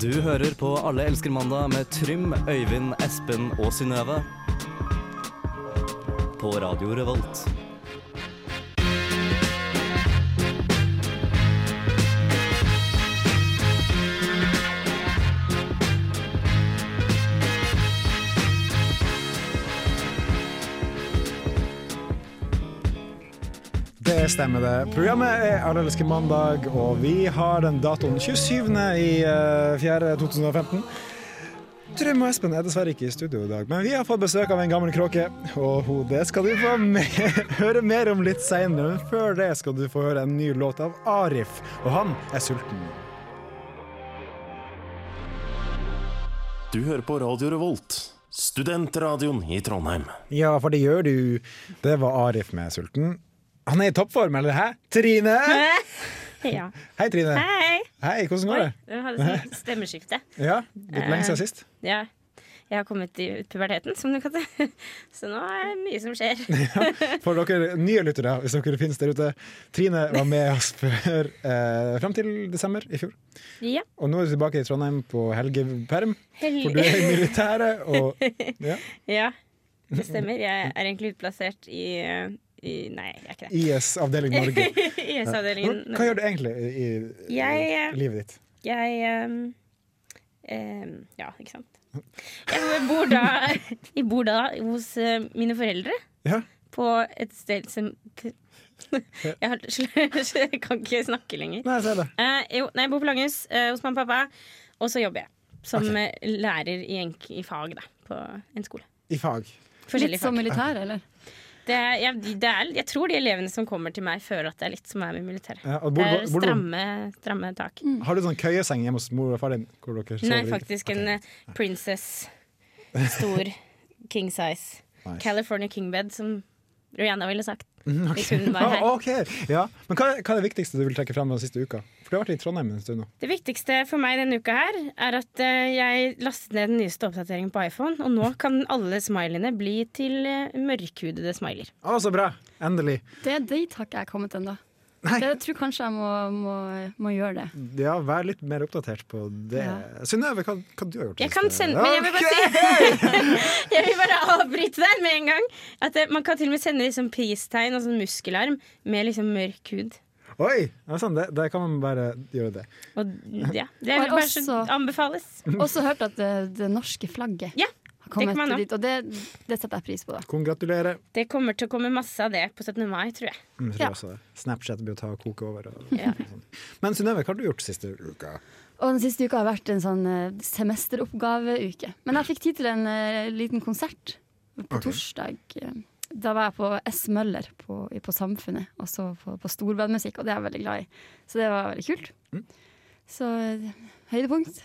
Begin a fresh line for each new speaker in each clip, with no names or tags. Du hører på Alle elsker mandag med Trym, Øyvind, Espen og Synnøve. På Radio Revolt.
Det stemmer det. Programmet er Allelske mandag, og vi har den datoen 27. i eh, 4. 2015. Trym og Espen er dessverre ikke i studio i dag, men vi har fått besøk av en gammel kråke. Og ho- det skal du få me- høre mer om litt seinere, men før det skal du få høre en ny låt av Arif, og han er sulten.
Du hører på Radio Revolt, studentradioen i Trondheim.
Ja, for det gjør du. Det var Arif med 'Sulten'. Han er i toppform, eller hæ? Trine!
Ja.
Hei, Trine.
Hei!
Hei, hvordan går
Oi,
det?
jeg hadde sånn stemmeskifte.
Ja, Litt lenge siden sist.
Ja. Jeg har kommet i puberteten, som du kan si. Så nå er det mye som skjer.
For dere nye lyttere, hvis dere finnes der ute. Trine var med oss før, eh, fram til desember i fjor.
Ja.
Og nå er du tilbake i Trondheim på helgeperm, for du
Heldig.
er i militæret. Og, ja,
Ja, det stemmer. Jeg er egentlig utplassert i, eh, i Nei, jeg er ikke det.
IS avdeling Norge.
I E
Men,
IS-avdelingen.
hva gjør du egentlig i, i
Jeg, eh,
livet ditt?
Jeg ehm, ehm, Ja, ikke sant. Jeg bor da, jeg bor da hos eh, mine foreldre.
Ja,
På et sted som Jeg har- jeg kan ikke snakke lenger.
Nei, jeg ser det.
Eh, jo, nei, jeg bor på Langhus eh, hos mamma og pappa, og så jobber jeg. Som eh, lærer i, en, i fag, da, på en skole.
I fag.
Forskjellige
Litt som
fag.
militær, eller?
Det er, jeg, det er, jeg tror de elevene som kommer til meg, føler at det er litt som er med militæret.
Ja, og Eh, bor,
Det er
bor, bor,
stramme, stramme tak.
har du sånn køyeseng hjemme hos mor og far din? Hvor dere sover
Nei,
i?
faktisk en eh, princess. Stor. King size.
Nice.
California kingbed, som Rihanna ville sagt.
Mm, ok.
Hvis hun var her.
Ah, ok. ja. Men hva, hva er det viktigste du vil trekke frem den siste uka? For du har vært i Trondheim en stund nå.
Det viktigste for meg denne uka her er at eh, jeg lastet ned den nyeste oppdateringen på iPhone, og nå kan alle smileyene bli til eh, mørkhudede smileyer.
Å, så bra! Endelig.
Det, dit har ikke jeg kommet ennå.
Nei.
Jeg tror kanskje jeg må, må, må gjøre det.
Ja, vær litt mer oppdatert på det.
Ja.
Synnøve, hva, hva du har gjort?
Jeg
siste-
kan sende, men jeg vil bare,
Ok!
si, jeg vil bare avbryte deg med en gang. At eh, Man kan til og med sende liksom pristegn og sånn muskelarm med liksom mørk hud.
Oi! Ja, sånn, det, det kan man bare gjøre det.
Og ja, Det
Og
vil bare så
også-
anbefales.
Også hørt at det, det norske flagget
Mm. Ja,
har kommet
det kan man
dit, og det, det setter jeg pris på. Da.
Kongratulerer.
Det kommer til å komme masse av det på 17. mai, tror jeg.
Mm, tror
Ja.
jeg også det. Snapchat blir å ta og koke over. Og,
Ja.
sånn. Men Synnøve, hva har du gjort siste uka?
Og den siste uka har vært en sånn eh, semesteroppgaveuke. Men jeg fikk tid til en eh, liten konsert på torsdag. Da var jeg på S. Møller på, på Samfunnet, og så på, på storbandmusikk, og det er jeg veldig glad i. Så det var veldig kult.
Mm.
Så eh, høydepunkt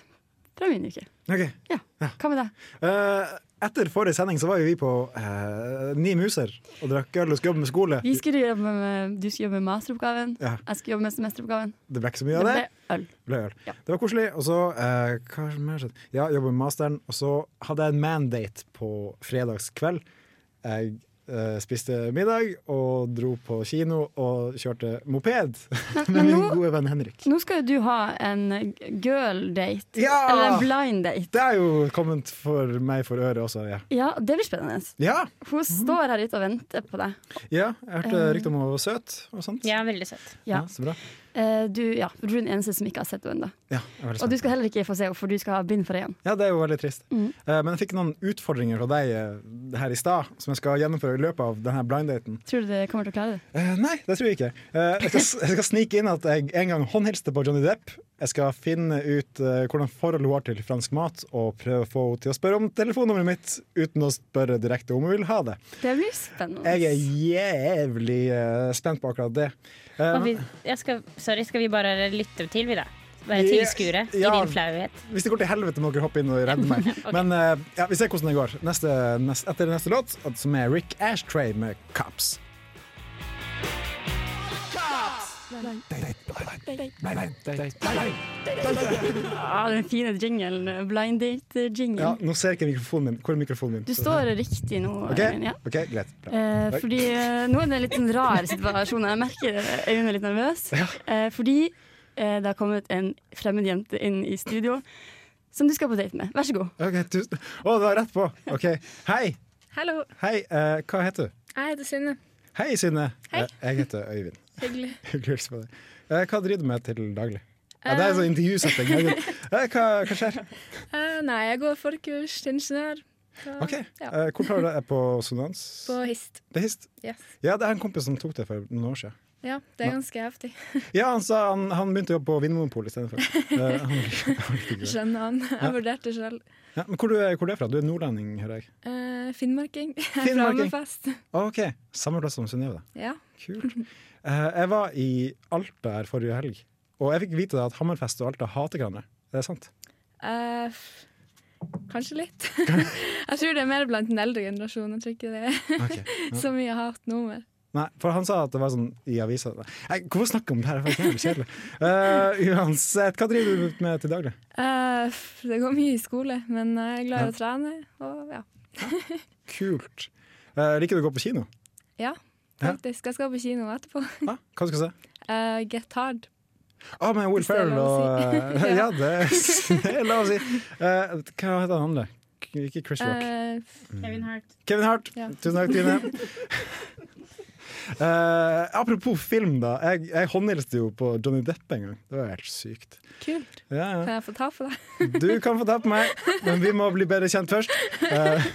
fra min uke.
Ok.
Ja. Hva med deg?
Eh, etter forrige sending så var jo vi på eh, Ni muser og drakk øl og skulle jobbe med skole.
Vi skulle jobbe med, du skulle jobbe med masteroppgaven,
Ja.
jeg skulle jobbe med semesteroppgaven.
Det ble ikke så mye
Det
av det.
ble øl.
ble øl.
Ja.
Det var koselig. Og så eh, hva har mer skjedd? Ja, jobba med masteren, og så hadde jeg en mandate på fredagskveld. Jeg eh, spiste middag og dro på kino og kjørte moped med
men
min
nå-
gode venn Henrik.
Nå skal jo du ha en girl date,
Ja!
eller en blind date.
Det er jo kommet for meg for øret også, ja.
Ja, det blir spennende.
Ja,
Hun står her ute og venter på deg.
ja jeg hørte
Eh.
rykte om hun var søt og sånt.
Ja, veldig søtt.
Ja.
så bra.
Eh, Du, ja, for du er den eneste som ikke har sett henne ennå.
Ja, jeg er veldig
Og du
spent.
skal heller ikke få se henne, for du skal ha bind for øynene.
Ja, det er jo veldig trist.
Mhm.
Eh, men jeg fikk noen utfordringer fra deg eh, her i stad, som jeg skal gjennomføre i løpet av denne blinddaten.
Tror du du kommer til å klare det?
Eh, nei, det tror jeg ikke. Eh, jeg, skal, jeg skal snike inn at jeg en gang håndhilste på Johnny Depp. Jeg skal finne ut eh, hvordan forhold hun har til fransk mat, og prøve å få henne til å spørre om telefonnummeret mitt uten å spørre direkte om hun vil ha det.
Det blir spennende.
Jeg er jævlig eh, spent på akkurat det. Eh,
Og vi, jeg skal, sorry, skal vi bare lytte til, vi da? Være
Ja,
tilskuere i
ja.
din flauhet?
hvis det går til helvete, må dere hoppe inn og redde meg. Men eh, ja, vi ser hvordan det går neste, neste, etter neste låt, som er Rick Ashtray med 'Cops'.
Ja, Ah, den fine jinglen. Blind
Ja,
date-jingelen.
nå ser jeg ikke mikrofonen min. Hvor er mikrofonen min?
Du står riktig nå.
OK,
Øyvind, ja.
ok, greit. Bra.
Eh,
Takk.
fordi eh, Nå er det en litt sånn rar situasjon. Jeg merker Øyvind er litt nervøs. Eh, fordi eh, det har kommet en fremmed jente inn i studio som du skal på date med. Vær så god.
Ok, tusen Å, det var rett på! Ok, Hei!
Hallo,
Hei, eh, hva heter du?
jeg heter Synne.
Hei, Synne.
Hei.
Eh, Jeg heter Øyvind.
Hyggelig.
Hyggelig å hilse på deg. Eh, Hva driver du med til daglig? Ja, det er sånn intervjusetting. herregud. Eh, Hva, hva skjer?
Eh, nei, jeg går forkurs til ingeniør. Så,
Ok,
Ja,
eh, Hvor tar du det? Er På Sonans?
på HIST.
Det er hist?
Yes.
Ja, det er en kompis som tok det for noen år siden.
Ja, det er ganske heftig.
Ja, han sa han, han begynte å jobbe på Vinmonopolet istedenfor. Eh, han- han likte ikke det.
Skjønner han. Jeg vurderte selv.
Ja, men hvor, du er, hvor er du fra? Du er nordlending, hører jeg.
Eh, finnmarking. Jeg er fra
Finnmarking.
Hammerfest.
OK. Samme plass som Synnøve, da.
Ja.
Kult. Eh, jeg var i Alta her forrige helg, og jeg fikk vite da at Hammerfest og Alta hater hverandre. Er det sant?
Eh, f- kanskje litt. jeg tror det er mer blant den eldre generasjonen. Jeg tror ikke det er
Ok.
så mye hat nå mer.
Nei, for han sa at det var sånn i avisa Nei, Hvorfor snakke om det her? Det er jævlig kjedelig. Eh, uansett, hva driver du med til daglig?
Eh, f- det går mye i skole, men jeg er glad i å trene. Og ja.
Kult. Eh, liker du å gå på kino?
ja, faktisk. Jeg skal på kino etterpå.
Ja, hva skal du se?
Eh, get hard.
Ah, med Will
Hvis det er
Ferrell
lov
og
å si.
eh, Ja, det det er lov å si. Eh, hva heter han andre? K- Ikke Chris Rock.
Eh,
Kevin Hart.
Kevin Hart.
Ja.
Tusen takk, Trine. Eh, apropos film, da. Jeg, jeg håndhilste jo på Johnny Depp en gang. Det var helt sykt.
kult.
Ja, ja.
Kan jeg få ta på deg?
Du kan få ta på meg, men vi må bli bedre kjent først. Eh,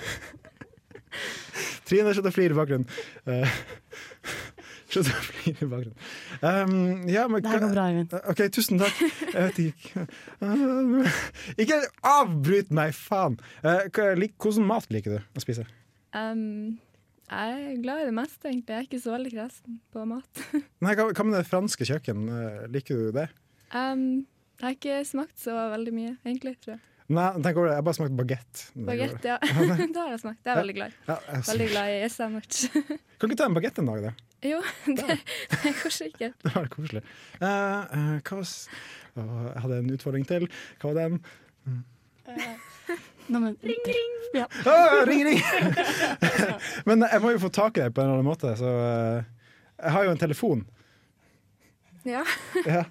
Trine slutt å flire i bakgrunnen. Eh, Slutt å flire i bakgrunnen. Um, ja, men
Det her
hva-
går bra, Øyvind.
OK, tusen takk. Jeg vet ikke Um, Ikke avbryt meg, faen! Eh, hva- lik- Hvordan mat liker du å spise?
Um, jeg er glad i det meste, egentlig. Jeg er ikke så veldig kresen på mat.
Nei, hva, hva med det franske kjøkken? Eh, Liker du det?
Um, jeg har ikke smakt så veldig mye, egentlig, tror jeg.
Nei, tenk over det. Jeg har bare smakt bagett.
Bagett, ja. det har jeg smakt. Det er jeg veldig glad i.
Ja, jeg-
Veldig glad i sandwich.
Kan ikke ta en bagett en dag, da?
jo, det, det går sikkert.
Det var koselig. Eh, eh, hva s- Å, jeg hadde en utfordring til. Hva var den?
Nå, men, Ja.
Å, ring, ring! Men jeg må jo få tak i deg på en eller annen måte, så eh, Jeg har jo en telefon.
Ja.
Ja.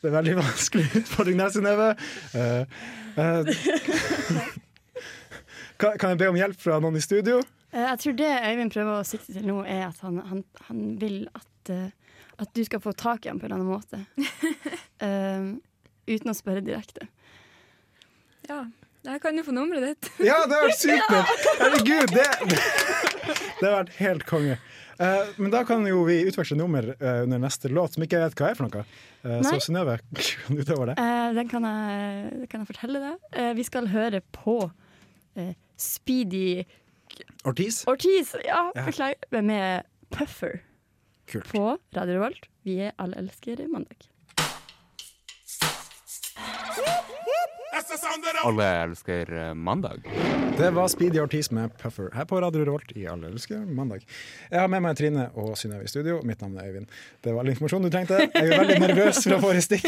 Det er veldig vanskelig utfordring der, Synnøve. Eh, eh, kan, kan jeg be om hjelp fra noen i studio?
Eh, Jeg tror det Øyvind prøver å sikte til nå, er at han, han, han vil at, eh, at du skal få tak i ham på en eller annen måte. Eh, uten å spørre direkte.
ja. Jeg kan jo få nummeret ditt.
Ja, det har vært supert! Herregud, det, det har vært helt konge. Eh, men da kan jo vi utveksle nummer eh, under neste låt, som ikke jeg vet hva er for noe. Eh, så
Nei.
Synnøve, kan du ta over det?
Eh, den kan jeg, det kan jeg fortelle deg. Eh, vi skal høre på eh, Speedy
Ortiz?
Ortiz ja,
Ja.
beklager, med Puffer
Kult.
på Radio Revolt. Vi er alle elskere mandag.
Alle elsker eh, mandag.
Det var Speedy Ortiz med Puffer her på Radio Revolt i Alle elsker mandag. Jeg har med meg Trine og Synnøve i studio. Mitt navn er Øyvind. Det var all informasjon du trengte. Jeg er veldig nervøs for å få stikk.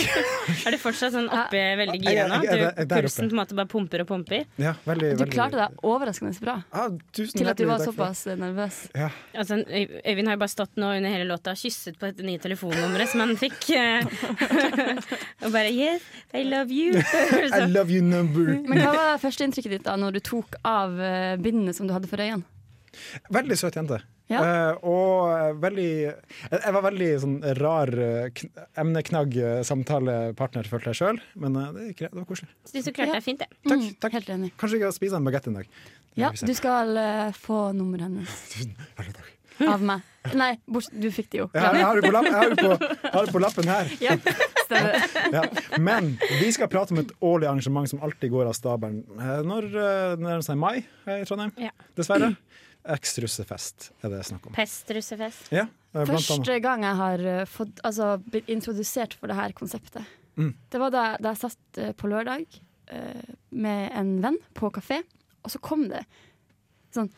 Er du fortsatt sånn oppe veldig
Jeg-
gira
jeg-
nå?
jeg- jeg-
Du,
jeg- der oppe.
pulsen på en måte bare pumper og pumper?
Ja, veldig,
Du
veldig-
klarte deg overraskende bra
Ah, tusen
til at du
hjertelig
var
takk for det.
såpass nervøs.
Ja.
Altså, Øy- Øyvind har jo bare stått nå under hele låta og kysset på dette nye telefonnummeret som han fikk. eh, og bare Yes, I love you.
I
Så,
love you number.
Men hva var førsteinntrykket ditt da når du tok av eh, bindene som du hadde for øynene?
Veldig søt jente.
Ja.
Eh, og eh, veldig Jeg jeg var veldig sånn rar eh, kn emneknagg eh, samtalepartner, følte jeg sjøl. Men eh, det, gikk greit, det var koselig.
synes du klarte deg fint, det.
Takk.
Mm,
takk.
Helt enig.
Kanskje jeg skal spise en bagett en dag. Det
Ja,
får vi se.
du skal eh, få nummeret hennes av meg. Nei, bort, du fikk det jo.
Jeg har, jeg har det på, lapp, jeg har det på, jeg har det på lappen her.
Ja, stemmer.
Ja. Men vi skal prate om et årlig arrangement som alltid går av stabelen. Eh, Når eh, nærmer det seg mai her i Trondheim?
Ja.
Dessverre. Eks-russefest er det snakk om.
Pestrussefest.
Ja, eh, blant annet.
Første gang jeg har eh, fått, altså, blitt introdusert for det her konseptet,
Mm.
det var da, da jeg satt eh, på lørdag eh, med en venn på kafé, og så kom det sånn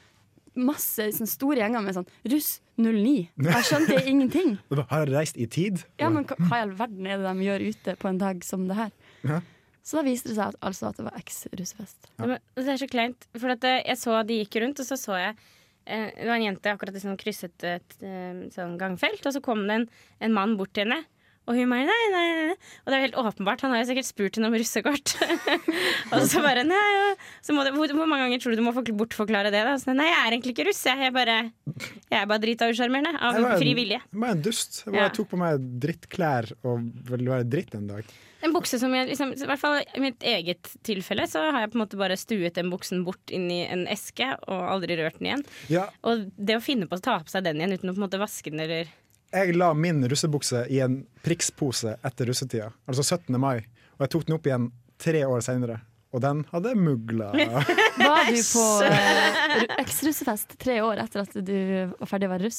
masse sånn store gjenger med sånn russ 09. Jeg skjønte ingenting.
Det var, Har jeg reist i tid?
Ja, men hva hva i all verden er det de gjør ute på en dag som det her?
Ja.
Så da viste det seg at, altså at det var eks-russefest.
Ja, men Det er så kleint. For at eh, jeg så de gikk rundt, og så så jeg eh, Det var en jente akkurat som krysset et eh, sånn gangfelt, og så kom det en, en mann bort til henne. Og hun bare nei, nei, nei. Og det er jo helt åpenbart, han har jo sikkert spurt henne om russekort. og så bare nei, og så må det, hvor, hvor mange ganger tror du du må forkl- bortforklare det? da? Så, nei, jeg er egentlig ikke russ, jeg er bare, jeg er bare drita usjarmerende.
Jeg var
Av
en-
fri vilje.
Jeg var en dust. Jeg, bare
Ja.
tok på meg drittklær og ville være dritt en dag.
En bukse som jeg liksom, I hvert fall i mitt eget tilfelle så har jeg på en måte bare stuet den buksen bort inn i en eske og aldri rørt den igjen.
Ja,
Og det å finne på å ta på seg den igjen uten å på en måte vaske den eller
jeg la min russebukse i en prikspose etter russetida, altså 17. mai, og jeg tok den opp igjen tre år seinere. Og den hadde mugla.
Var du på eh, ru- eks-russefest tre år etter at du var ferdig å være russ?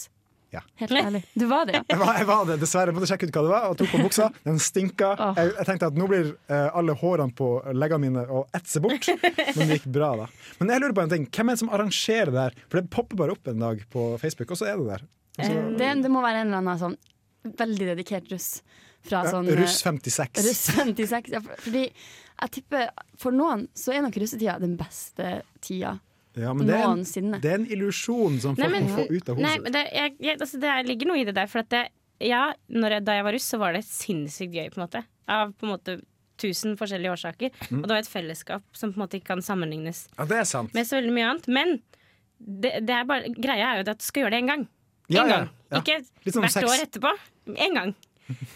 Ja.
Helt ærlig. Du var det, ja.
Jeg var, jeg var det, dessverre. Jeg måtte sjekke ut hva det var, og tok på buksa. Den stinka.
Åh.
Jeg, jeg tenkte at nå blir eh, alle hårene på leggene mine å etse bort. Men det gikk bra, da. Men jeg lurer på en ting. Hvem er det som arrangerer det her? For det popper bare opp en dag på Facebook, og så er det der.
Det, det må være en eller annen sånn veldig dedikert russ. Fra
Ja,
sånn eh,
Russ 56.
russ 56. Ja, for- fordi jeg tipper for noen så er nok russetida den beste tida
Ja, men det er en,
noensinne.
det er en illusjon som folk må få ut av
nei,
hodet.
men det, jeg, jeg, altså, det er- ligger noe i det der. For at det, ja, når jeg, da jeg var russ, så var det sinnssykt gøy, på en måte. Av på en måte tusen forskjellige årsaker.
Mm.
Og det var et fellesskap som på en måte ikke kan sammenlignes
Ja, det er sant.
med så veldig mye annet. Men det, det er bare, greia er jo det at du skal gjøre det én gang. En
Ja, ja,
gang.
ja. Litt
Ikke
som
hvert
sex.
år etterpå. Én gang.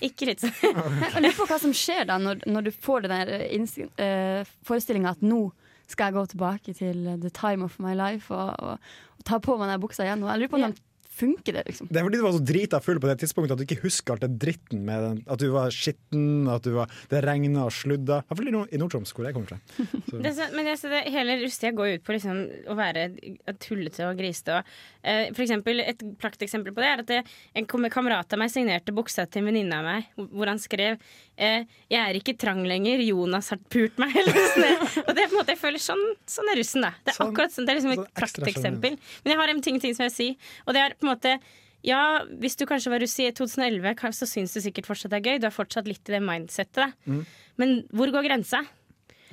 Ikke litt sånn.
Men Jeg lurer på hva som skjer da når, når du får den der eh, uh, forestillinga at nå skal jeg gå tilbake til the time of my life og, og, og ta på meg den buksa igjen. Og jeg lurer på om
Ja.
den funker, det, liksom.
Det er fordi du var så drita full på det tidspunktet at du ikke husker alt det dritten med den. At du var skitten, at du var, det regna og sludda. I hvert fall i Nord- i Nord-Troms, hvor jeg kommer fra.
Det, er så- men jeg, så det, hele russetida går jo ut på liksom, å være tullete og grisete. Og, eh, for eksempel, et prakteksempel på det er at det, en kom- kamerat av meg signerte buksa til en venninne av meg, hvor- hvor han skrev eh, 'Jeg er ikke trang lenger, Jonas har pult meg'. Eller noe sånt. og det er på en måte, jeg føler sånn, sånn er russen, da. Det er
Sånn-
akkurat sånn, det er liksom et
sånn ekstra
prakteksempel. Men jeg har en ting, ting som jeg vil si, og det er på en måte ja, hvis du kanskje var russ i 2011, kan- så syns du sikkert fortsatt det er gøy. Du er fortsatt litt i det mindsettet. Da.
Mm.
Men hvor går grensa?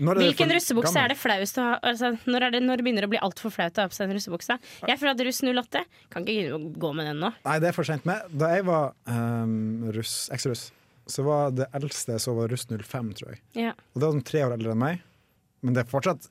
Når er det
Hvilken
for
russebukse
gammel?
er det flaust å ha? Altså, når, er det, når det begynner å bli altfor flaut å ha på seg en russebukse? Jeg føler at russ 08 kan ikke begynne å gå med den nå.
Nei, det er for sent. Men da jeg var um, russ, eks-russ, så var det eldste jeg så var russ 05, tror jeg.
Ja,
Og det var sånn tre år eldre enn meg. Men det er fortsatt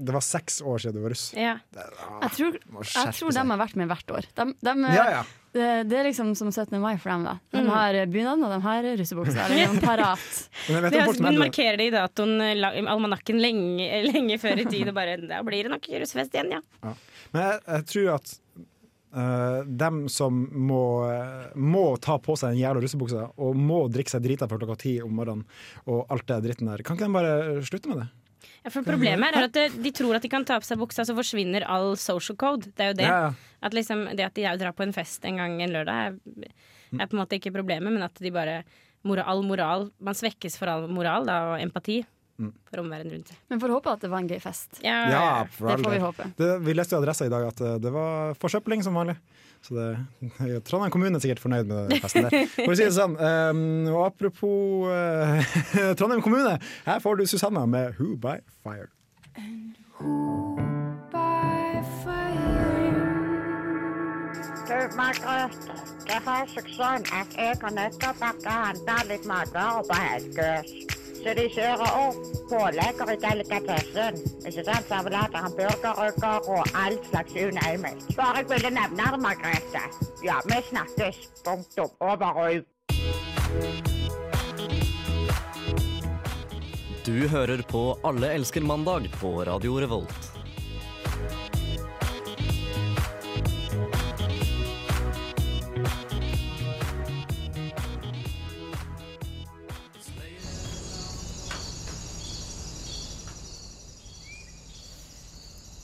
Det var seks år siden du var russ.
ja.
Jeg tror,
må skjerpe
jeg tror de
seg.
har vært med hvert år. De, de,
Ah, Ja, ja.
Det, det er liksom som 17. mai for dem. da De har bunaden, og de har russebuksa. Eller de liksom parat.
Men jeg vet
Det
om
er,
folk som er
men
eldre.
altså, markerer det i datoen, eh, la- i almanakken, lenge, lenge før i tid. Og bare, da blir det nok russefest igjen, ja.
Men jeg, jeg tror at eh, dem som må, må ta på seg den jævla russebuksa og må drikke seg drita før klokka ti om morgenen, og alt det dritten der, kan ikke de bare slutte med det?
ja for problemet er at det, de tror at de kan ta på seg buksa, så forsvinner all social code. Det er jo det.
Ja, ja.
At liksom, det at de drar på en fest en gang en lørdag, er, er på en måte ikke problemet, men at de bare moral, all moral, Man svekkes for all moral da, og empati for omverdenen rundt seg.
Men får håpe at det var en gøy fest.
Ja,
Mm. Ja, for
Det
all
får vi
del.
håpe.
Det, vi leste jo adressa i dag at eh, det var forsøpling som vanlig. Så det, Trondheim kommune er sikkert fornøyd med den festen der. For å si det sånn, eh, og apropos eh, Trondheim kommune, her får du Susanna med 'Who by Fire'.
Du, Margret, det har seg sånn at jeg og Nøtterbakke handler litt matvarer på Helgøs. Så de kjører opp pålegger i delikatessen. Ikke sant? Servelater, hamburgerrygger og all slags unøymelt. Bare jeg ville nevne det, Margrethe. Ja, vi snakkes. Punktum. Over og ut.
Du hører på Alle elsker mandag på Radio Revolt.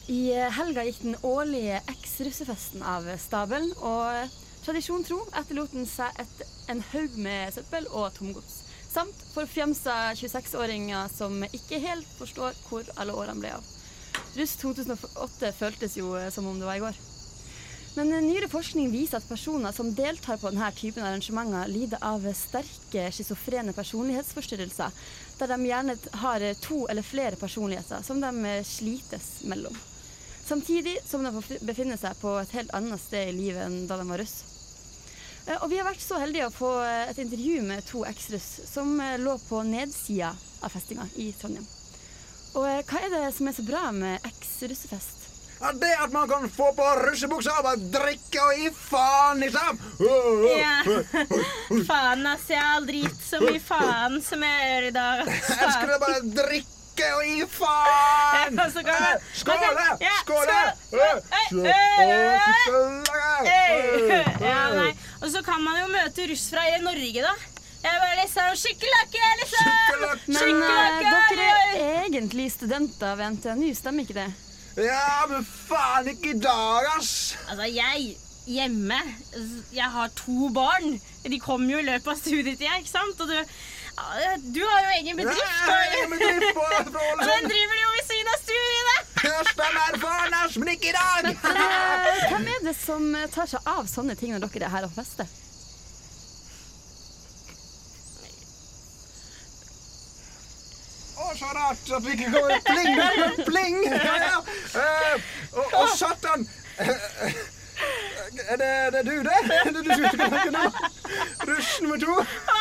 I helga gikk den årlige eks-russefesten av stabelen, og tradisjon tro etterlot den seg et, en haug med søppel og tomgods. Samt forfjamsa 26-åringer som ikke helt forstår hvor alle årene ble av. Russ 2008 føltes jo som om det var i går. Men nyere forskning viser at personer som deltar på denne typen arrangementer, lider av sterke schizofrene personlighetsforstyrrelser, der de gjerne har to eller flere personligheter som de slites mellom. Samtidig som de befinner seg på et helt annet sted i livet enn da de var russ. Eh, Og vi har vært så heldige å få eh, et intervju med to eksruss som eh, lå på nedsida av festinga i Trondheim. Og eh, hva er det som er så bra med eks-russefest?
At det at man kan få på russebuksa og bare drikke og gi faen liksom. i sam!
Ja. Faen, ass. Jeg har drit så mye faen som jeg gjør i dag. ass.
Jeg skulle bare drikke og gi faen!
Og så kan man-
Skål, da!
Ja,
Skål, da!
Skål! Hey! Ja, nei. Og så kan man jo møte russ fra hele Norge, da. Jeg bare liksom Skikkelakke, liksom!
Men eh,
Skikkelakke!
dere er egentlig studenter ved NTNU, stemmer ikke det?
Ja, men faen, ikke i dag, ass!
Altså, jeg hjemme Jeg har to barn. De kom jo i løpet av studietida, ikke sant? Og du, ja, du har jo egen bedrift.
Jeg
Og,
med drift på fra
og den
Ålesund!
driver du jo ved siden av studiene!
Hørstam er faen, ass, men ikke i dag!
Men, eh, Hvem er det som eh, tar seg av sånne ting når dere er her og fester?
Å, så rart at vi ikke kommer pling, det kommer pling! Ja, ja. Eh, og, og satan! Eh, eh, Er det, det er du, det? Er det du som ikke kan nå? Russ nummer to?
Å,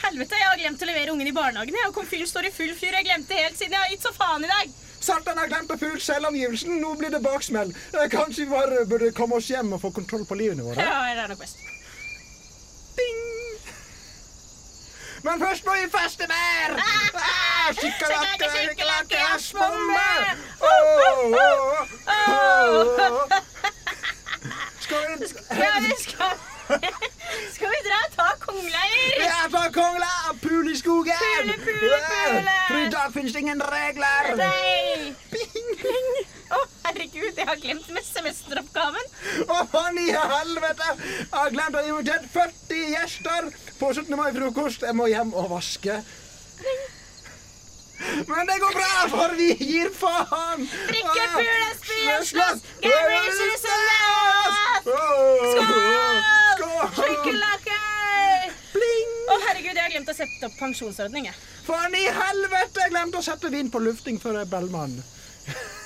Helvete, jeg har glemt å levere ungen i barnehagen. Jeg og komfyren står i full fyr. Jeg glemte helt siden jeg har gitt så faen i dag.
Satan har glemt å fylle selvangivelsen, nå blir det baksmell. Eh, Kanskje vi bare burde komme oss hjem og få kontroll på livene våre?
Ja, det er nok best.
Ding! Men først må vi feste mer! Ah, Skikkelakke, skikkelakke, asbombe! Skal vi
Ja, vi skal Skal vi dra og ta kongeleir?
Jeg er fra Kongla! Pul i skogen!
Pule, pule, pule!
For i dag finnes det ingen regler!
Nei! Å, herregud, jeg har glemt med semesteroppgaven.
Å, faen i helvete! Jeg har glemt å ha invitert 40 gjester på 17. mai-frokost. Jeg må hjem og vaske. Men det går bra, for vi gir faen!
Drikke,
Ah,
pule, spy og slåss.
Hvem
Gamle
vil
russere
slåss?
som
Skål!
Skål! Skikkelakker!
Bling!
Å, herregud, jeg har glemt å sette opp pensjonsordning. jeg.
Faen i helvete! Jeg glemte å sette vin på lufting før jeg bellmann.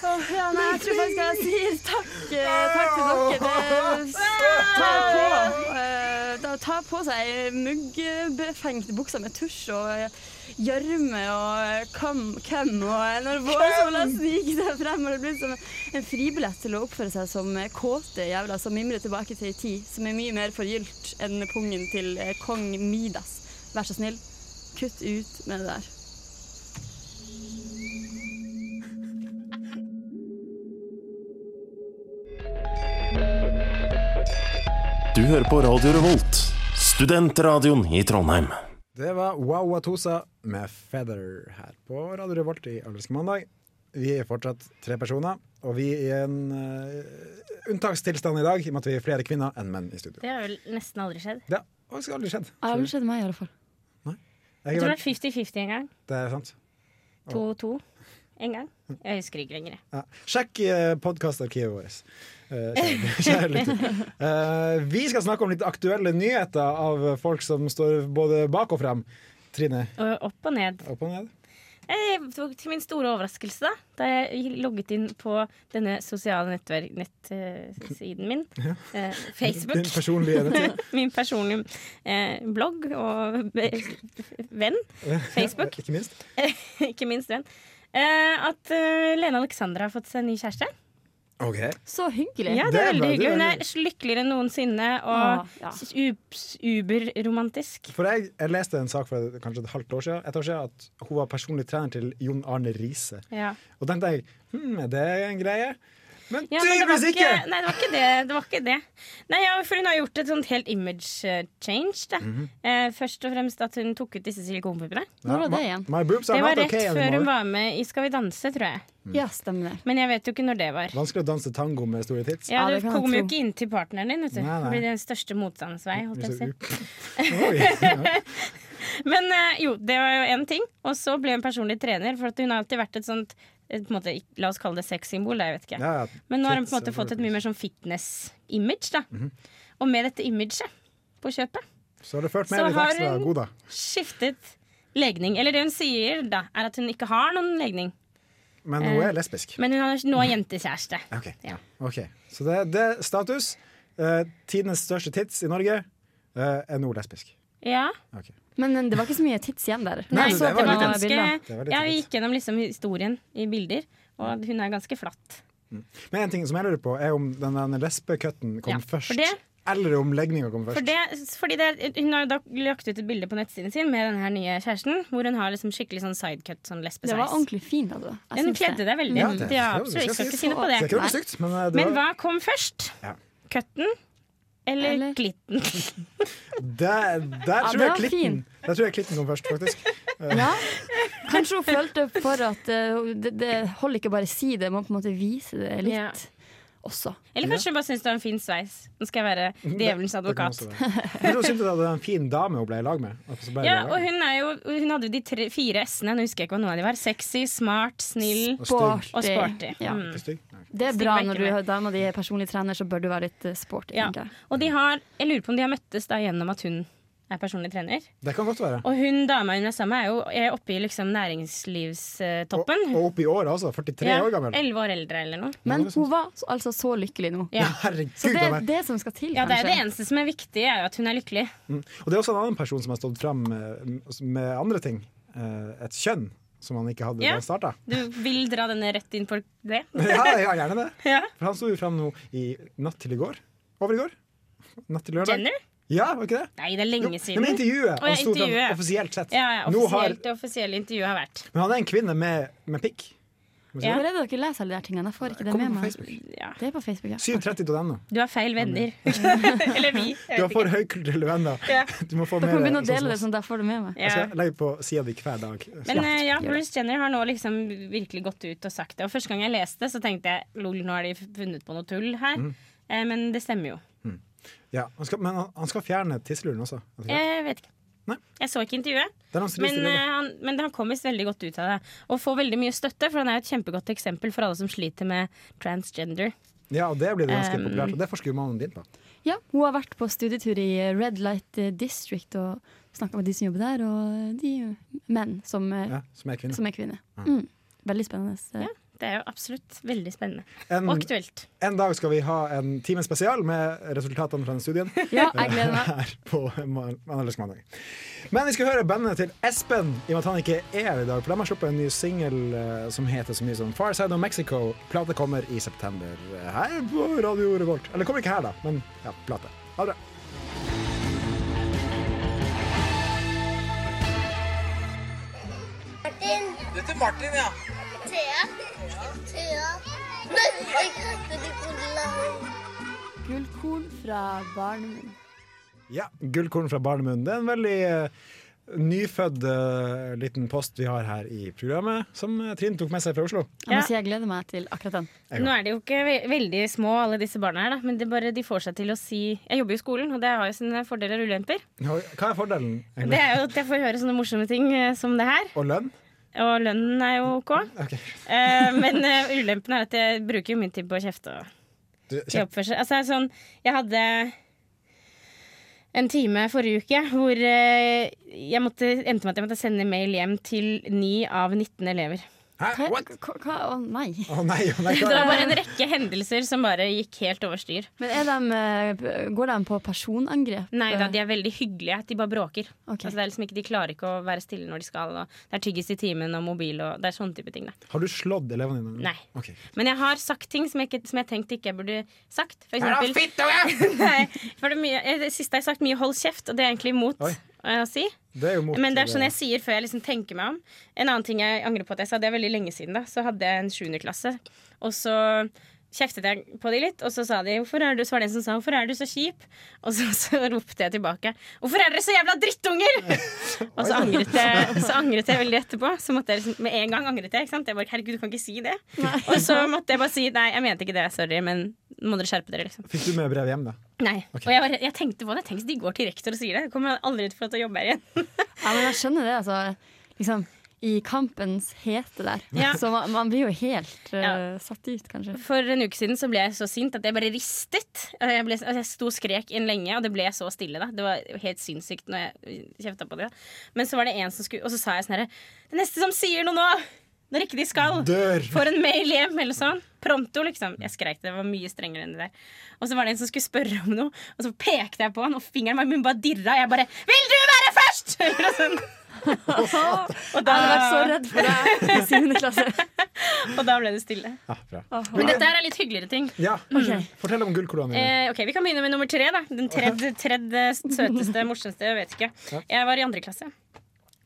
Åh, ja, nei, jeg tror faktisk jeg sier takk, eh, takk til dere. Det tar på, eh, da tar på seg muggbefengt bukser med tusj og eh, gjørme og kam, køm. Og når vårsola sniker seg frem, og det blir som en fribillett til å oppføre seg som eh, kåte jævla som mimrer tilbake til ei tid som er mye mer forgylt enn pungen til eh, kong Midas. Vær så snill, kutt ut med det der.
Du hører på Radio Revolt, studentradioen i Trondheim.
Det var Wawatosa med Feather her på Radio Revolt i Allerske mandag. Vi er fortsatt tre personer, og vi er i en eh, unntakstilstand i dag, i og med at vi er flere kvinner enn menn i studio.
Det har vel nesten aldri skjedd.
Det har faktisk aldri skjedd.
Det har aldri skjedd meg, i alle fall.
Jeg
Jeg
er
tror det
veld-
er 50-50 en gang.
det er sant.
2-2 en gang. Jeg husker ikke lenger. jeg.
Ja. Sjekk uh, podkastarkivet vårt. Eh, kjære- kjære lytter. Eh, vi skal snakke om litt aktuelle nyheter av folk som står både bak og frem. Trine,
Og opp og ned.
opp og ned.
Eh, Til min store overraskelse, da, da jeg logget inn på denne sosiale nettsiden min, eh,
Din
Facebook,
personlige nyhet.
min personlige eh, blogg og be- venn, Facebook,
Ikke minst.
ikke minst venn, eh, at eh, Lene Alexandra har fått seg en ny kjæreste.
Ok.
Så hyggelig.
Ja,
Det
det
er
er veldig
veldig,
hyggelig. Hun
veldig-
er lykkeligere enn noensinne
Ah,
og
ja.
ups- uberromantisk.
For jeg, jeg leste en sak for kanskje et halvt år siden, et år siden at hun var personlig trener til Jon Arne Riise.
Ja.
Og tenkte jeg hm, er det en greie? Men
Ja, men det var
tydeligvis ikke!
ikke, nei, det var ikke det. det, var ikke det. Nei, ja, for Hun har gjort et sånt helt image eh, change. Da. eh, først og fremst at hun tok ut disse silikonpuppene.
Når var det igjen?
My, my boobs
Det
are
var
not
rett
okay
før hun
anymore.
var med i Skal vi danse, tror jeg.
Ja, stemmer det.
Men jeg vet jo ikke når det var.
Vanskelig å danse tango med store tits.
Ja,
Ja,
Du
det kan jeg
kommer jo
tro.
ikke inn til partneren din. Vet du.
Nei, nei.
Det blir den største motstandens vei. Holdt jeg på å si.
Oi, ja.
Men eh, jo, det var jo én ting. Og så ble hun personlig trener, for at hun har alltid vært et sånt eh, på en måte, La oss kalle det sexsymbol. da, Jeg vet ikke.
Ja, ja.
Men nå har hun
Tits
på en måte
og
fått et mye mer sånn fitness-image. da
Mhm.
Og med dette imaget på kjøpet
Så har du ført
Så
med litt
har
ekstra
hun-
god, da.
skiftet legning. Eller det hun sier, da, er at hun ikke har noen legning.
Men hun er lesbisk.
Eh, Men hun har nå jentekjæreste.
Ok,
Ja.
ok. Så det, det er status. Eh, tidenes største tits i Norge. Eh, er nå lesbisk.
Ja.
Ok.
Men eh, det var ikke så mye tids igjen der.
Nei,
Jeg
så det var litt
noen
ganske
bilder.
Det var litt
Ja, vi
dritt.
gikk gjennom liksom historien i bilder, og hun er ganske flatt.
Men en ting som jeg lurer på, er om den der lesbekutten kom
Ja, for
først.
det-
Eller om legninga kom først.
For det, fordi det, er- hun har jo da lagt ut et bilde på nettsiden sin med den her nye kjæresten, hvor hun har liksom skikkelig sånn sidecut, sånn lesbesveis.
Det var ordentlig fint. Altså.
Hun
Jeg syns det.
kledde deg veldig.
Ja,
Ja,
det-
absolutt. Jeg skal ikke si noe på
det er ikke
det.
noe stygt, men eh, det
Men
var,
hva kom først?
Ja.
Cutten eller,
Eller-
glitten?
der, der,
Ja,
tror
det
jeg
var
klitten,
fin.
der tror jeg klitten kom først, faktisk.
Ja. Kanskje hun følte for at eh, det, det holder ikke bare å si det, man må på en måte vise det litt
Ja.
også.
Eller kanskje hun bare syns det var en fin sveis. Nå skal jeg være
Det
djevelens
kan
advokat.
også være. Men hun syntes at det var en fin dame hun ble i lag med. At så ble de i
Ja,
lag.
og hun, er jo, hun hadde jo de tre, fire s-ene, nå husker jeg ikke hva noen av de var. Sexy, smart, snill
Og stygg.
Sporty.
og sporty.
Ja.
Mm.
Ikke stygg? Nei.
Det er
Stig
bra
var ikke
når du
med.
har dama di er personlig trener, så bør du være litt eh, sporty.
Ja.
tenker jeg.
Og de har, jeg lurer på om de har møttes da gjennom at hun er personlig trener.
Det kan godt være.
Og hun dama hun er sammen med, er jo er oppe i liksom næringslivstoppen.
Og, og opp i året, altså. 43 år gammel.
Elleve år eldre eller noe.
Men hun var så- altså så lykkelig nå.
Ja.
Herregud,
Så det
da
er
meg.
det som skal til,
ja, det er jo det
kanskje.
eneste som er viktig, er jo at hun er lykkelig.
Og det er også en annen person som har stått fram eh, med andre ting. Eh, Et kjønn som han ikke hadde da
Ja.
han starta.
Du vil dra denne rett inn for det?
Ja, ja, gjerne det.
Ja.
For han sto jo fram nå i natt til i går. Over i går. Natt til lørdag.
Jenner?
Ja, var ikke det?
Nei, det er
Jo,
lenge
Nei,
siden.
men intervjuet.
Å, ja,
Han sto fram
intervjuet.
offisielt sett.
Ja, ja,
Nå har,
offisielt, Det offisielle intervjuet har vært.
men han er en kvinne med, med pikk.
Ja.
Hvor er det dere leser alle de her tingene? Jeg får ikke det
Kommer
med
på
meg.
Facebook.
Ja.
Det er på Facebook, ja.
730.no.
Du har feil venner. Eller vi.
Du
Jeg
har
vet ikke.
for høykulturelle venner.
Ja.
Du må få med
Dere kan begynne å
sånn som
dele det,
oss.
sånn at jeg får det med meg.
Ja.
Jeg skal legge på sida di hver dag.
Men
Ja.
eh, ja,
gjør det.
Bruce Jenner har nå liksom virkelig gått ut og sagt det. Og første gang jeg leste det, så tenkte jeg lol, nå har de funnet på noe tull her.
Mm.
Eh, men det stemmer jo.
Ja, han skal, men han- han skal fjerne tisseluren også.
Eh, Jeg vet ikke.
Nei.
Jeg så ikke intervjuet.
Det er hans
Men,
stilling, da.
eh, han, men han kom visst veldig godt ut av det. Og får veldig mye støtte, for han er jo et kjempegodt eksempel for alle som sliter med transgender.
Ja, og det blir det ganske
ehm,
populært, og det forsker jo mannen din på.
Ja, hun har vært på studietur i eh, Red Light eh, District og snakka med de som jobber der, og de eh, menn som, eh,
Ja, som er kvinne.
som er kvinner. Mm. Veldig spennende. eh.
Det er jo absolutt veldig spennende.
En,
Og aktuelt.
en dag skal vi ha en time spesial med resultatene fra den studien
Ja, jeg gleder meg.
her på Man- Analytisk mandag. Men vi skal høre bandet til Espen, i og med at han ikke er her i dag. For de har sluppet en ny singel eh, som heter så mye som Far Side of Mexico. Plata kommer i september eh, her på Radio Revolt. Eller kommer ikke her, da, men ja, plate. Ha det bra.
Thea. Thea. Nei, jeg heter Nicolai.
Gullkorn fra barnet mitt.
Ja, Gullkorn fra barnemunn. Det er en veldig eh, nyfødt eh, liten post vi har her i programmet, som eh, Trine tok med seg fra Oslo.
Jeg må
Ja.
si jeg gleder meg til akkurat den.
Jeg
Nå er de jo ikke ve veldig små, alle disse barna her, da. men det er bare de får seg til å si Jeg jobber jo i skolen, og det har jo sine fordeler og ulemper.
Hva er fordelen?
Det
egentlig?
er jo at jeg får høre sånne morsomme ting eh, som det her.
Og lønn?
Og lønnen er jo OK.
Ok.
Eh, men eh, ulempen er at jeg bruker jo mye tid på å kjefte og
Du,
i oppførsel. Altså, jeg er sånn, jeg hadde en time forrige uke hvor eh, jeg måtte, endte med at jeg måtte sende mail hjem til 9 av 19 elever.
Hæ?
Hva?
What?
hva- hva? Å nei.
Å nei, å nei.
Det var
hva-
bare en rekke hendelser som bare gikk helt over styr.
Men er de, eh, går de på personangrep?
Nei da, de er veldig hyggelige. De bare bråker.
Ok.
Altså, det er liksom ikke, de klarer ikke å være stille når de skal. Og det er tyggis i timen og mobil og det er sånne type ting. Da.
Har du slått elevene dine?
Nei.
Ok.
Men jeg har sagt ting som jeg, ikke, som jeg tenkte ikke jeg burde sagt. For eksempel Nei, for det, er mye, eh, det siste jeg har sagt, mye 'hold kjeft', og det er jeg egentlig imot
Oi.
eh, å si.
Det er jo mot eh,
Men det er sånn jeg sier før jeg liksom tenker meg om. En annen ting jeg angrer på at jeg sa, det er veldig lenge siden, da. Så hadde jeg en sjuendeklasse, og så kjeftet jeg på de litt, og så sa de hvorfor er du, så var det en som sa 'hvorfor er du så kjip?' Og så, så ropte jeg tilbake 'hvorfor er dere så jævla drittunger?' og så angret, jeg, så angret jeg veldig etterpå. Så måtte jeg liksom, Med en gang angret jeg. ikke sant? Jeg bare 'herregud, du kan ikke si det'. Og så måtte jeg bare si 'nei, jeg mente ikke det, sorry, men nå må dere skjerpe dere', liksom.
Fikk du med brev hjem, da?
Nei. Og jeg, var- jeg tenkte på det. Tenk hvis de går til rektor og sier det. Kommer jeg aldri til å få lov til å jobbe her igjen.
Ja, men jeg skjønner det, altså. Liksom, I kampens hete der.
Ja.
Så man, man blir jo helt eh,
Ja.
satt ut, kanskje.
For en uke siden så ble jeg så sint at jeg bare ristet. Og Jeg, ble, altså jeg sto og skrek inn lenge, og det ble så stille. da Det var helt sinnssykt når jeg kjefta på det. da Men så var det en som skulle Og så sa jeg sånn herre Det neste som sier noe nå, når ikke de skal,
Dør!
får en mail hjem, eller sånn. Pronto, liksom. Jeg skreik det. Det var mye strengere enn det der. Og så var det en som skulle spørre om noe, og så pekte jeg på han, og fingeren min bare dirra. Jeg bare 'Vil du være først?' Eller noe sånt. og, da,
Jeg hadde vært så redd for deg i syvende klasse.
og da ble det stille.
Ja, bra.
Men dette her er litt hyggeligere ting.
Ja, Mm.
Ok.
Fortell om gullkolonnen. din.
Eh, ok, Vi kan begynne med nummer tre. da Den tredje, tredje søteste, morsomste. Jeg vet ikke Jeg var i andre klasse.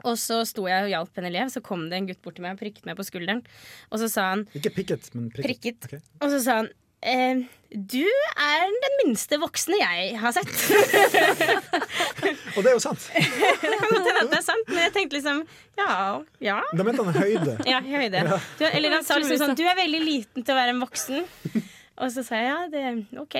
Og så sto jeg og hjalp en elev, så kom det en gutt bort til meg og prikket meg på skulderen. Og så sa han
Ikke pikket, men prikket.
prikket.
Ok.
Og så sa han eh, Du er den minste voksne jeg har sett.
Og det er jo sant.
det kan godt hende at det er sant, men jeg tenkte liksom Ja. ja.
Da mente han høyde.
Ja, i høyde. Du, eller han sa liksom sånn Du er veldig liten til å være en voksen. Og så sa jeg ja, det, OK.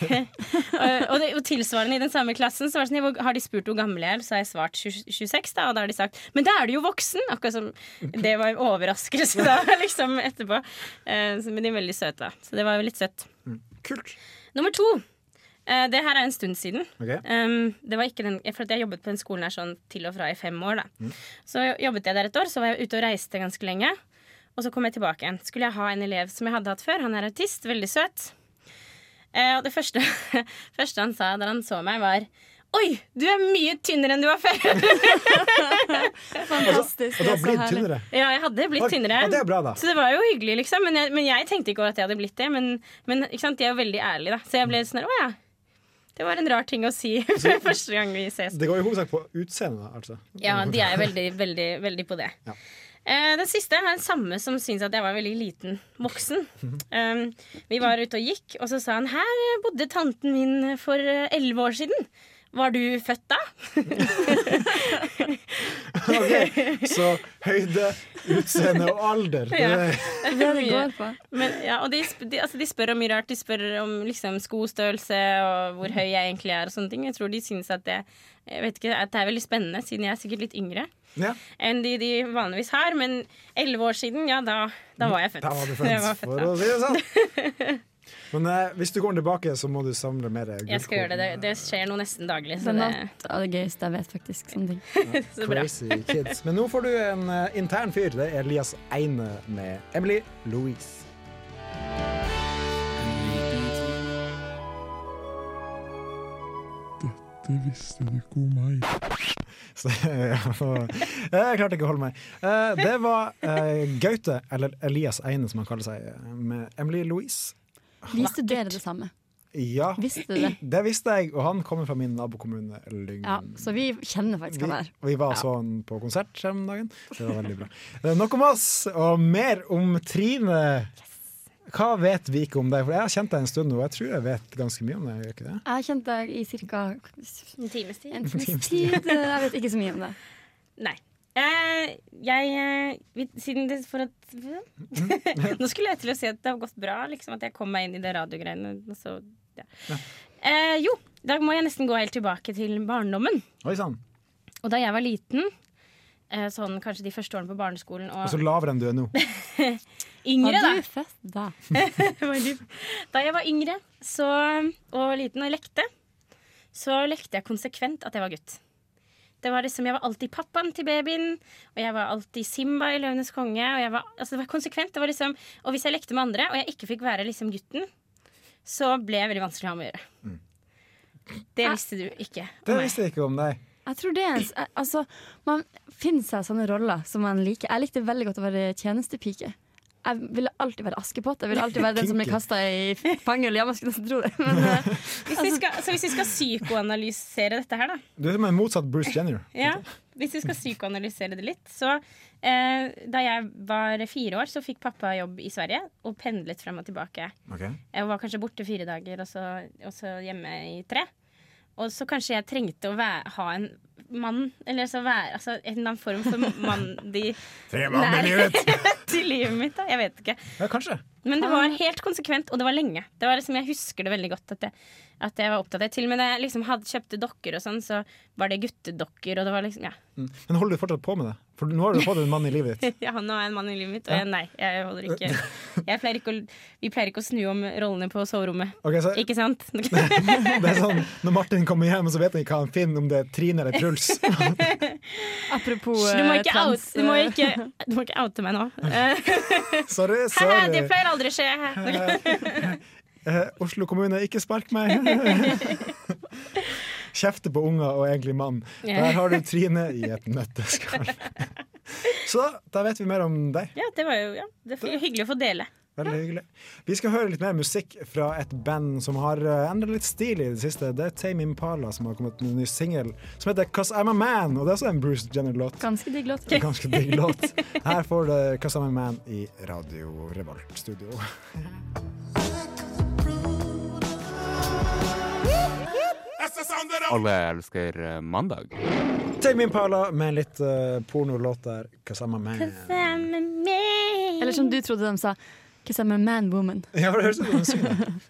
og, og det, og tilsvarende i den samme klassen så var det sånn, «Hvor- har de spurt hvor gammel jeg er, så har jeg svart 20 26, da, og da har de sagt Men da er du jo voksen! Akkurat som Det var en overraskelse da, liksom, etterpå. Eh, så- men de er veldig søte, da. Så det var jo litt søtt.
Kult.
Nummer to. Eh, det her er en stund siden.
Ok.
Um, det var ikke den, for at jeg jobbet på den skolen her sånn til og fra i fem år. Da.
Mm.
Så jobbet jeg der et år, så var jeg ute og reiste ganske lenge. Og så kom jeg tilbake igjen. Skulle jeg ha en elev som jeg hadde hatt før. Han er autist, veldig søt. Eh, og det første, første han sa da han så meg, var Oi, du er mye tynnere enn du var før!
Og
Fantastisk. Det
da
er så
blir det
herlig.
tynnere.
ja, jeg hadde blitt
Oi,
tynnere.
ja, det er bra, da.
Så det var jo hyggelig, liksom. Men jeg, men jeg tenkte ikke over at jeg hadde blitt det. Men, men ikke sant? de er jo veldig ærlige, da. Så jeg ble sånn her, Å ja. Det var en rar ting å si første gang vi ses.
Det går i hovedsak på utseendet, altså.
Ja, de er veldig, veldig, veldig på det.
Ja.
Eh, Den siste er den samme som syns at jeg var veldig liten voksen.
Mhm.
Um, vi var ute og gikk, og så sa han her eh, bodde tanten min for eh, elleve år siden. Var du født da?
Ok, Så høyde, utseende og alder. Det
Ja.
er-
Det er det det går på.
Men, ja, og de, sp de, altså, de spør om mye rart. De spør om liksom, skostørrelse og hvor høy jeg egentlig er. og sånne ting Jeg tror de syns at det, jeg vet ikke, at det er veldig spennende, siden jeg er sikkert litt yngre
Ja.
enn de de vanligvis har. Men elleve år siden, ja, da, da var jeg født.
Mm, Da var du
Jeg var
født,
født
for
da.
å si det sånn. Men eh, hvis du går tilbake, så må du samle mer gullkorn.
Jeg skal gjøre det. Det, det skjer noe nesten daglig.
Det
Så
er
det,
noe av det gøyeste jeg vet, faktisk. Sånne ting.
så bra.
Crazy kids. Men nå får du en eh, intern fyr. Det er Elias Eine med Emily Louise. Dette visste du ikke om meg. Jeg klarte ikke å holde meg. Eh, Det var eh, Gaute, eller Elias Eine som han kaller seg, med Emily Louise.
Viste dere det samme?
Ja,
Visste dere det?
det visste jeg, og han kommer fra min nabokommune Lyngen.
Ja, så vi kjenner faktisk
Vi,
han her.
vi var sånn på konsert her om dagen. Det var veldig bra. Eh, Nok om oss, og mer om Trine. Hva vet vi ikke om deg? For Jeg har kjent deg en stund nå, og jeg tror jeg vet ganske mye om deg. gjør jeg Ikke det?
Jeg har kjent deg i ca.
En times tid.
en times tid. Jeg vet ikke så mye om det.
Nei. Eh, jeg eh, vi- Siden det for at Nå skulle jeg til å si at det har gått bra, liksom, at jeg kom meg inn i det radiogreiene. og Så, ja. eh, jo, da må jeg nesten gå helt tilbake til barndommen.
Oi sann.
Og da jeg var liten, eh, sånn kanskje de første årene på barneskolen og
Altså lavere enn du er nå.
yngre,
Har
da.
du fest da?
Var dyp. Da jeg var yngre så, og liten og lekte, så lekte jeg konsekvent at jeg var gutt. Det var liksom, Jeg var alltid pappaen til babyen, og jeg var alltid Simba i 'Løvenes konge'. Og jeg var, altså det var konsekvent. Det var liksom, og hvis jeg lekte med andre, og jeg ikke fikk være liksom gutten, så ble jeg veldig vanskelig å ha med å gjøre. Det visste du ikke.
Mm. Det
om meg.
visste jeg ikke om deg.
Jeg tror det er en, s- eh, altså, Man finner seg sånne roller som man liker. Jeg likte veldig godt å være tjenestepike. Jeg ville alltid være Askepott. Jeg ville alltid være den som ble
Kinky.
kasta i fanghullet. Ja, man skulle nesten tro det. Men eh,
Hvis vi skal, så hvis vi skal psykoanalysere dette her, da.
Du er som en motsatt Bruce Jenner.
Ja, Hvis vi skal psykoanalysere det litt, så eh, Da jeg var fire år, så fikk pappa jobb i Sverige og pendlet frem og tilbake.
Ok.
Jeg var kanskje borte fire dager og så, og så hjemme i tre. Og så kanskje jeg trengte å væ- ha en mann, eller så være, altså en eller annen form for mann de,
Tre
Nei.
mann i livet!
til livet mitt. da, Jeg vet ikke.
Ja, kanskje.
Men det var helt konsekvent, og det var lenge. Det var liksom, jeg husker det veldig godt. At jeg, At jeg var opptatt av det. Til og med da jeg liksom hadde kjøpte dokker og sånn, så var det guttedokker, og det var liksom Ja,
Mm. Men holder du fortsatt på med det? For nå har du fått en mann i livet ditt.
ja nå er jeg en mann i livet mitt, og jeg, nei, jeg holder ikke Jeg pleier ikke å Vi pleier ikke å snu om rollene på soverommet.
Ok, så
Ikke sant?
det er sånn, Når Martin kommer hjem, så vet han ikke hva han finner, om det er Trine eller Truls.
Apropos
Du må
eh,
ikke, out,
trans.
du må ikke, du må ikke oute meg nå.
Sorry,
Haha, det
sorry.
pleier aldri å skje.
Eh, Oslo kommune, ikke spark meg! Kjefte på unger og egentlig mann. Der har du Trine i et nøtteskall. Så da vet vi mer om deg.
Ja, det var jo ja, det var hyggelig å få dele.
Veldig hyggelig. Vi skal høre litt mer musikk fra et band som har eh, endret litt stil i det siste. Det er Tame Impala som har kommet med en ny singel som heter 'Cause I'm a Man'. Og det er også en Bruce Jenner-låt.
Ganske digg låt.
En ganske digg låt. Her får du 'Cause I'm a Man' i Radio Revolt Studio.
Alle elsker eh, mandag.
Tame Impala med litt eh, pornolåt der. 'Cause I'm a Man'.
sånn-
Eller som du trodde de sa. Kiss I'm a man woman.
Ja, det høres ut som en sang.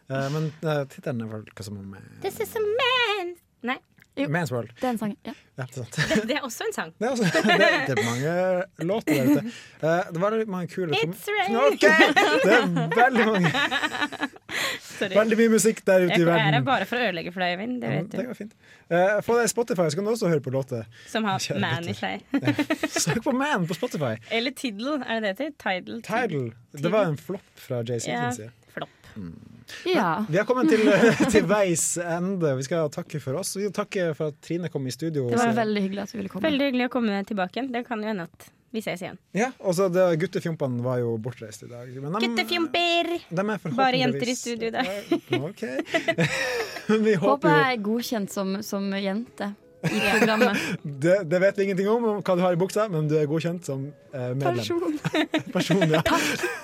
Eh, Men uh, tittelen er vel 'Cause I'm a Man'.
This is a man. Nei,
Jo.
Man's World.
Det er en sang. Ja.
Ja, det er sant.
det, det er også en sang.
Det er, også, det, det er mange låter der ute. Eh, det var litt mange kule som-
It's rain.
Ok! Det er veldig mange
Sorry.
Veldig mye musikk der ute i
Jeg er her
verden.
bare for å ødelegge for deg, Øyvind. Det vet
Det
du.
går fint. Eh, få deg Spotify, så kan du også høre på låter.
Som har
Kjære
man i
gutter.
seg.
Søk på Man på Spotify.
Eller Tiddle, er det det til? Tidal.
Tidal. Det var en flopp fra JC
Ja,
sin side.
flopp.
ja.
Vi har kommet til, til veis ende. Vi skal takke for oss. Vi takker for at Trine kom i studio.
Det var
Så-
veldig hyggelig at du ville komme.
Veldig hyggelig å komme tilbake igjen. Det kan jo hende at vi ses igjen.
Ja, og så det- Guttefjompene var jo bortreist i dag. Men de-
Guttefjomper!
de er forhåpentligvis-
Bare jenter i studio i dag.
Ok. Men vi håper
Håper
jo
jeg er godkjent som, som jente i programmet.
det, det vet vi ingenting om, om hva du har i buksa, men du er godkjent som eh, medlem.
Person.
Person, ja.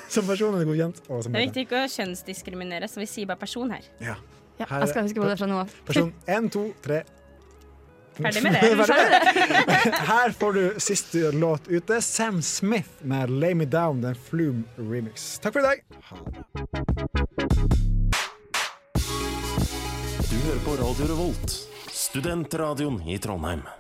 som person er du godkjent. Og som
Det er
medlem.
viktig ikke å kjønnsdiskriminere, så vi sier bare person her.
Ja.
Ja, jeg skal huske på det fra nå av.
Person én, to, tre.
Ferdig med det.
Her får du siste låt ute. Sam Smith med 'Lay Me Down', den Flume remix. Takk for i dag.
Du hører på Radio Revolt, studentradioen i Trondheim.